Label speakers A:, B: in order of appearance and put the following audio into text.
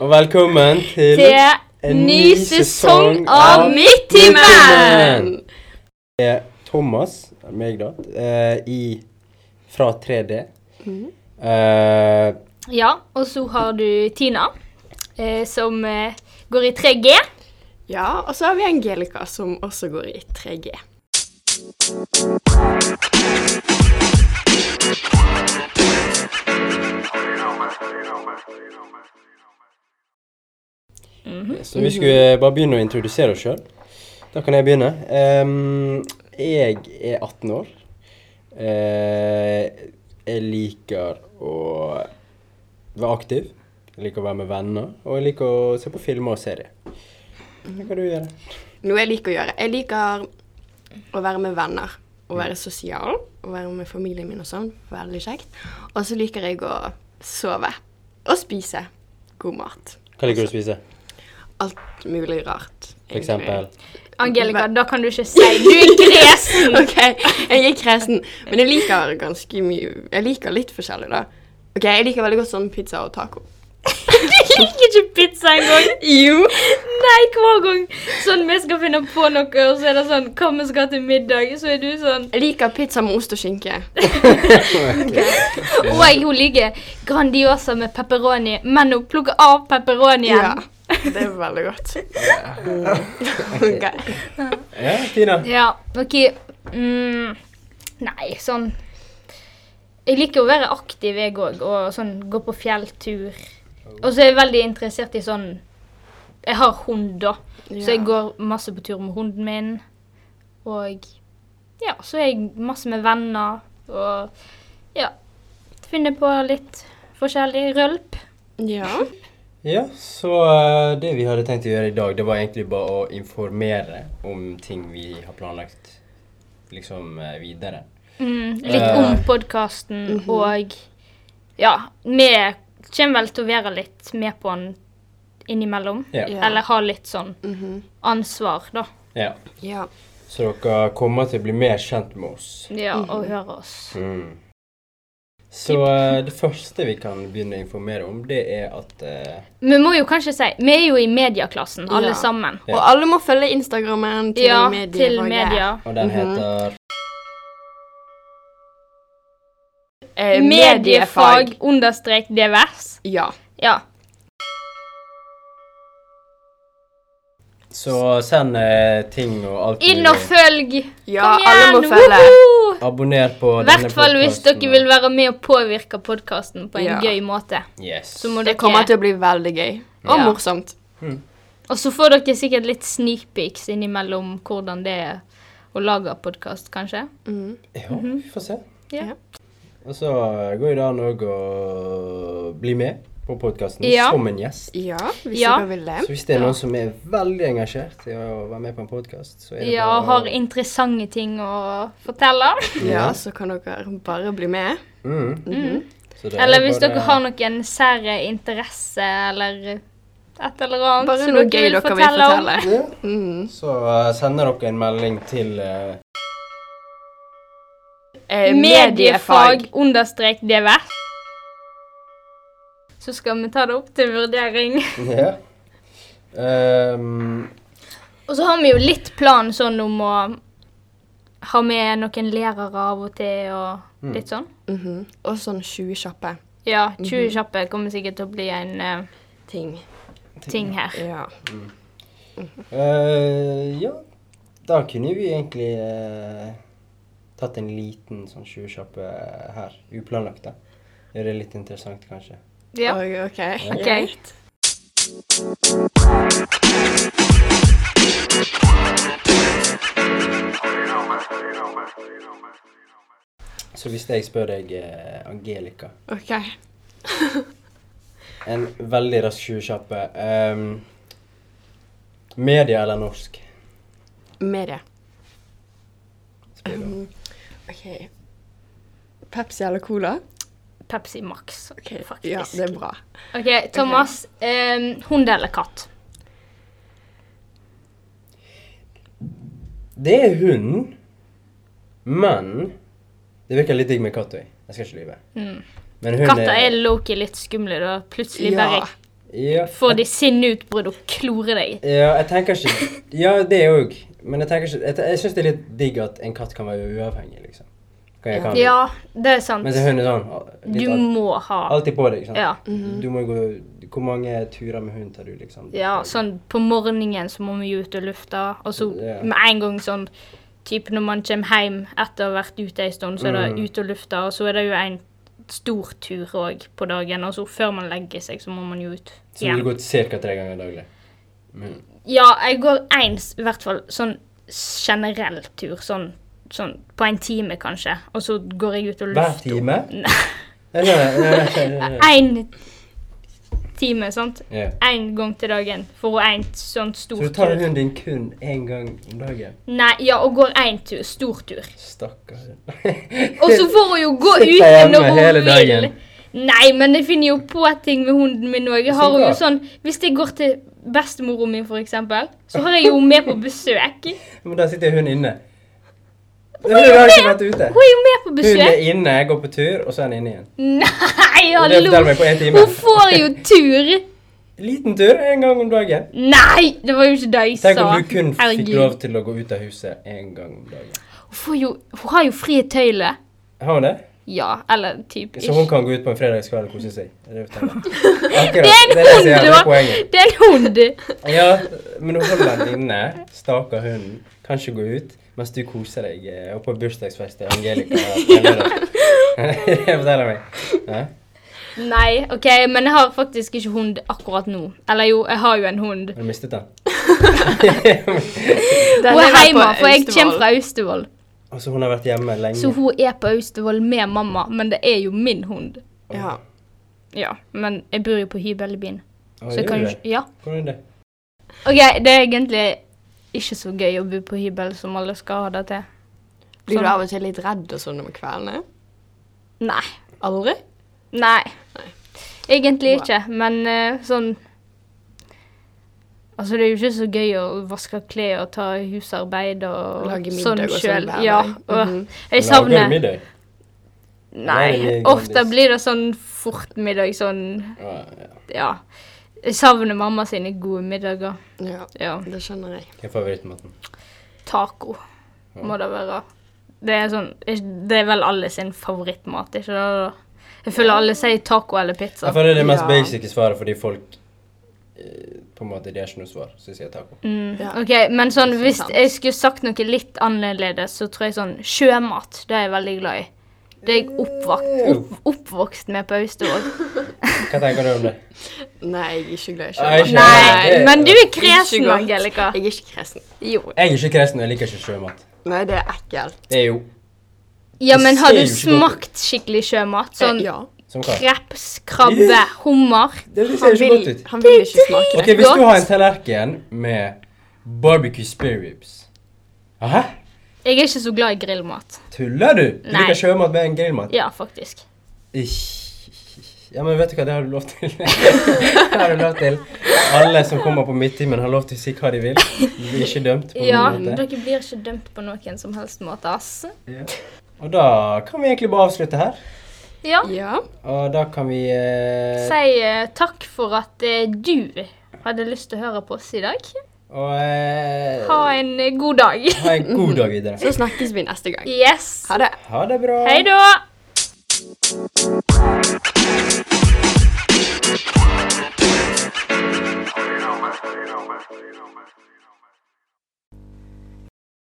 A: og velkommen til,
B: til
A: en
B: ny sesong av Midttimen!
A: Det er Thomas, meg da, eh, i fra 3D.
B: Mhm.
A: Eh,
B: Ja, og så har du Tina, eh, som eh, går i 3G.
C: Ja, og så har vi Angelica, som også går i 3G.
B: Mhm.
A: så vi skulle bare begynne å introdusere oss sjøl. Da kan jeg begynne. Ehm, jeg er 18 år. Eh, jeg liker å være aktiv. Jeg liker å være med venner, og jeg liker å se på filmer og serier. Hva kan du gjøre?
C: Noe jeg liker å gjøre. Jeg liker å være med venner, å være sosial, å være med familien min og sånn. Veldig kjekt. Og så liker jeg å sove og spise god mat.
A: Hva liker du å spise?
C: Alt mulig rart.
A: For eksempel.
B: Angelica, da kan du ikke si Du er gresen!
C: OK, jeg er kresen, men jeg liker ganske mye Jeg liker litt forskjellig, da. OK, jeg liker veldig godt sånn pizza og taco.
B: Jeg liker ikke pizza engang.
C: Jo!
B: Nei, hver gang sånn vi skal finne på noe, og så er det sånn Hva vi skal ha til middag, så er du sånn
C: Jeg liker pizza med ost og skinke.
B: Og jeg hun liker Grandiosa med pepperoni, men hun plukker av pepperonien.
C: Det er veldig godt. Ok.
A: Ja, Tina.
B: Ja, ok. Mm, nei, sånn Jeg liker å være aktiv, jeg òg, og sånn gå på fjelltur. Og så er jeg veldig interessert i sånn Jeg har hund, da, så jeg
C: Ja.
B: går masse på tur med hunden min. Og ja, så er jeg masse med venner og ja. Finner på litt forskjellig rølp.
C: Ja.
A: Ja, så eh, det vi hadde tenkt å gjøre i dag, det var egentlig bare å informere om ting vi har planlagt liksom eh, videre.
B: Mm, litt
A: Eh.
B: om podkasten
C: Mhm.
B: og Ja, vi kommer vel til å være litt med på den innimellom.
A: Ja.
C: Ja.
B: Eller ha litt sånn
C: Mhm.
B: ansvar, da.
A: ja.
C: ja.
A: Så dere kommer til å bli mer kjent med oss.
B: Ja,
C: Mhm.
B: Og høre oss.
A: Mm. Så eh, det første vi kan begynne å informere om, det er at eh,
B: Vi må jo kanskje si Vi er jo i medieklassen, alle
C: Ja.
B: sammen.
A: Ja.
C: Og alle må følge Instagrammen til
B: Ja,
C: mediefaget.
B: til media.
A: Og den heter
C: Eh,
B: Mediefag understrek divers.
C: Ja.
B: Ja.
A: Så send eh, ting og alt
B: Inn og
A: mulig.
B: følg!
C: ja
B: Kom igjen!
C: alle må følge.
B: woho!
A: Abonner på
B: I
A: denne
B: hvert fall hvis
A: podcasten.
B: dere vil være med og påvirke podkasten på en
C: Ja.
B: gøy måte.
A: Yes.
B: Så må
C: Det
B: dere
C: kommer til å bli veldig gøy. Og
B: Ja.
C: morsomt.
B: Og så får dere sikkert litt sneakpeaks innimellom hvordan det er å lage podkast, kanskje.
C: Mm.
A: Ja, vi får se.
B: Ja.
A: Og så går det an òg å bli med på podkasten
B: Ja.
A: som en gjest.
C: Ja, hvis
B: Ja.
C: dere vil det.
A: Så hvis det er noen som er veldig engasjert i å være med på en podkast, så er det
B: Ja,
A: bare
B: og har interessante ting å fortelle.
C: Ja, så kan dere bare bli med.
A: mm. Så det er
B: Mhm. Eller hvis
A: bare-
B: dere har noen sære interesse eller et eller annet
C: Bare
B: som
C: noe gøy dere vil fortelle.
A: ja.
C: Mm.
A: Så eh, sender dere en melding til eh,
C: Eh,
B: Mediefag understrek divers. Så skal vi ta det opp til vurdering.
A: Ja. Ehm,
B: Og så har vi jo litt plan sånn om å ha med noen lærere av og til
A: Mm.
B: og litt sånn.
C: Mhm. Og sånn 20 kjappe
B: Ja,
C: Mhm.
B: 20 kjappe kommer sikkert til å bli en eh,
C: ting.
B: ting her.
C: Ja.
A: eh, ja. Da kunne vi egentlig eh, tatt en liten sånn 20 kjappe her. Uplanlagt, da. Gjøre det litt interessant, kanskje.
B: Ja.
C: Oi, OK.
B: Ok.
C: Greit.
A: Så hvis jeg spør deg, eh, Angelica
C: OK.
A: En veldig rask 20 kjappe. Ehm, media eller norsk?
C: Medie.
A: Spør du.
C: OK. Pepsi eller cola?
B: Pepsi Max, faktisk.
C: Ja, det er bra.
B: OK, Thomas. eh, hund eller katt?
A: Det er hunden, men det virker litt digg med katt òg. Jeg skal ikke lyve. Men hunden
B: Katter er low-key litt skumle. da. Plutselig
C: Ja.
B: bare
A: Ja,
B: Får de sinneutbrudd og klorer deg.
A: ja, jeg tenker ikke Ja, det òg. Men jeg tenker ikke Jeg, jeg syns det er litt digg at en katt kan være uavhengig, liksom. Kan jeg, kan.
B: Ja, det er sant.
A: Mens en hund er sånn
B: Du
A: litt alt-
B: må ha
A: Alltid på deg, ikke sant.
B: Ja.
A: Du må gå Hvor mange turer med hund tar du, liksom?
B: Ja, sånn på morgenen så må vi ut og lufte, og så
A: Ja.
B: med en gang sånn typ når man kommer hjem etter å ha vært ute en stund, så er det
A: Mm.
B: ut og lufte, og så er det jo en stor tur òg på dagen, og så før man legger seg, så må man jo ut
A: Så du
B: igjen.
A: går ca. tre ganger daglig? Men,
B: Ja, jeg går én, i hvert fall sånn generell tur, sånn, sånn på en time kanskje, og så går jeg ut og
A: hver
B: lufter.
A: time?
B: Nei,
A: Nei, nei, nei, nei, nei, nei, nei.
B: én time, sant?
A: Ja.
B: Én gang til dagen for en sånn
A: Så
B: stor
A: du tar hunden din kun én gang om dagen?
B: Nei, ja, og går én tur. Stor tur.
A: Stakkar hund.
B: Og så får hun jo gå
A: Sitter
B: ute
A: hjemme
B: når hun
A: hele
B: vil.
A: dagen.
B: Nei, men jeg finner jo på ting med hunden min òg. Jeg har
A: Så
B: jo
A: bra.
B: sånn Hvis jeg går til bestemoren min, for eksempel, så har jeg jo henne med på besøk.
A: Men der sitter hun inne. Hun har ikke vært ute.
B: Hun er jo med på
A: Hun er
B: besøk.
A: inne, jeg går på tur, og så er hun inne igjen.
B: Nei,
A: Det
B: hallo!
A: forteller meg på en time.
B: Hun får jo tur.
A: Liten tur en gang om dagen.
B: Nei, det var jo ikke det jeg sa.
A: Tenk om du kun fikk
B: Herregud.
A: lov til å gå ut av huset en gang om dagen.
B: Hun, får jo, hun har jo frie tøyler.
A: Har hun det?
B: Ja, eller typisk.
A: Så hun kan gå ut på en fredagskveld og kose seg? Er Det, det,
B: Det er en
A: det
B: hund,
A: som er
B: da!
A: poenget.
B: Det er en hund.
A: Ja, men hun holder den inne. Stakkar hunden. Kan ikke gå ut mens du koser deg eh, og på bursdagsfest til Angelica. Det forteller meg. Ja.
B: Nei, ok, men jeg har faktisk ikke hund akkurat nå. Eller jo, jeg har jo en hund.
A: Har du mistet den?
C: Den
B: Hun
C: har
B: er
C: vært
B: hjemme,
C: på
B: for jeg
C: Austevoll.
B: kommer fra Austevoll.
A: Og så Altså, hun har vært hjemme lenge.
B: Så hun er på Austevoll med mamma, men det er jo min hund.
C: Ja.
B: Ja, men jeg bor jo på hybel i byen.
A: Å,
B: Så
A: gjør
B: jeg kan
A: du
B: jo
A: det?
B: ikke Ja.
A: Hvordan er det?
B: Ok, det er egentlig ikke så gøy å bo på hybel som alle skal ha det til.
C: Blir du
B: Sånn.
C: av og til litt redd og sånn om kveldene?
B: Nei.
C: Aldri?
B: Nei. Egentlig
C: Wow.
B: ikke, men eh, sånn Altså, det er jo ikke så gøy å vaske klær og ta husarbeid og
C: Lage middag
B: sånn
C: og sånn
B: sjøl.
C: hver
B: Ja,
C: dag.
B: og
C: Mhm.
B: Jeg
A: Lager du
B: savner
A: middag? Nei, det
B: Nei.
A: er
B: Ofte
A: gandis.
B: blir det sånn fort middag, sånn
A: Ja, ja.
B: Ja. Jeg savner mamma sine gode middager.
C: Ja,
B: Ja.
C: det skjønner jeg.
A: Hva er favorittmaten?
B: Taco må det være. Det er sånn Det er vel alle sin favorittmat, ikke det? da? Jeg føler alle sier taco eller pizza.
A: Jeg føler det er det mest
C: Ja.
A: basic svaret fordi folk eh, på en måte, De har ikke noe svar, så de sier taco.
B: Mm,
C: Ja.
B: ok, Men sånn,
C: Det er
B: hvis
C: sant.
B: jeg skulle sagt noe litt annerledes, så tror jeg sånn sjømat. Det er jeg veldig glad i. Det er jeg oppvakt, opp, oppvokst med på Austevoll.
A: Hva tenker du om det?
C: Nei, jeg er ikke glad i
A: Nei,
C: sjømat.
A: ikke-
B: Nei, men du er
C: Ikke
B: kresen,
C: godt.
B: Angelica.
C: Jeg er ikke kresen.
B: Jo.
A: Jeg er ikke kresen, og jeg liker ikke sjømat.
C: Nei, det er ekkelt.
A: Det er jo
B: Ja,
A: Det
B: men har
A: ser
B: du
A: jo ikke godt ut.
B: smakt skikkelig sjømat? Sånn
C: Eh, ja.
A: som hva?
B: kreps, krabbe, hummer?
A: Det det ser
C: Han
A: jo ikke godt
C: vil,
A: ut.
C: han vil ikke smake
A: Ok,
C: det.
A: hvis du har en
B: Godt.
A: tallerken med barbecue spare ribs Hæ?
B: Jeg er ikke så glad i grillmat.
A: Tuller du? Du
B: Nei.
A: liker sjømat med en grillmat?
B: Ja, faktisk.
A: Ikk. Ja, men vet du hva, det har du lov til. det har du lov til. Alle som kommer på midttimen, har lov til å si hva de vil. Du blir ikke dømt. på
B: Ja,
A: noen måte.
B: dere blir ikke dømt på noen som helst måte, ass.
A: Ja. Og da kan vi egentlig bare avslutte her.
B: Ja,
C: Ja.
A: Og da kan vi eh,
B: si eh, takk for at eh, du hadde lyst til å høre på oss i dag.
A: Og eh,
B: Ha en eh, god dag.
A: ha en god dag videre.
C: Så snakkes vi neste gang.
B: Yes.
C: Ha det.
A: Ha det bra.
B: Hei da.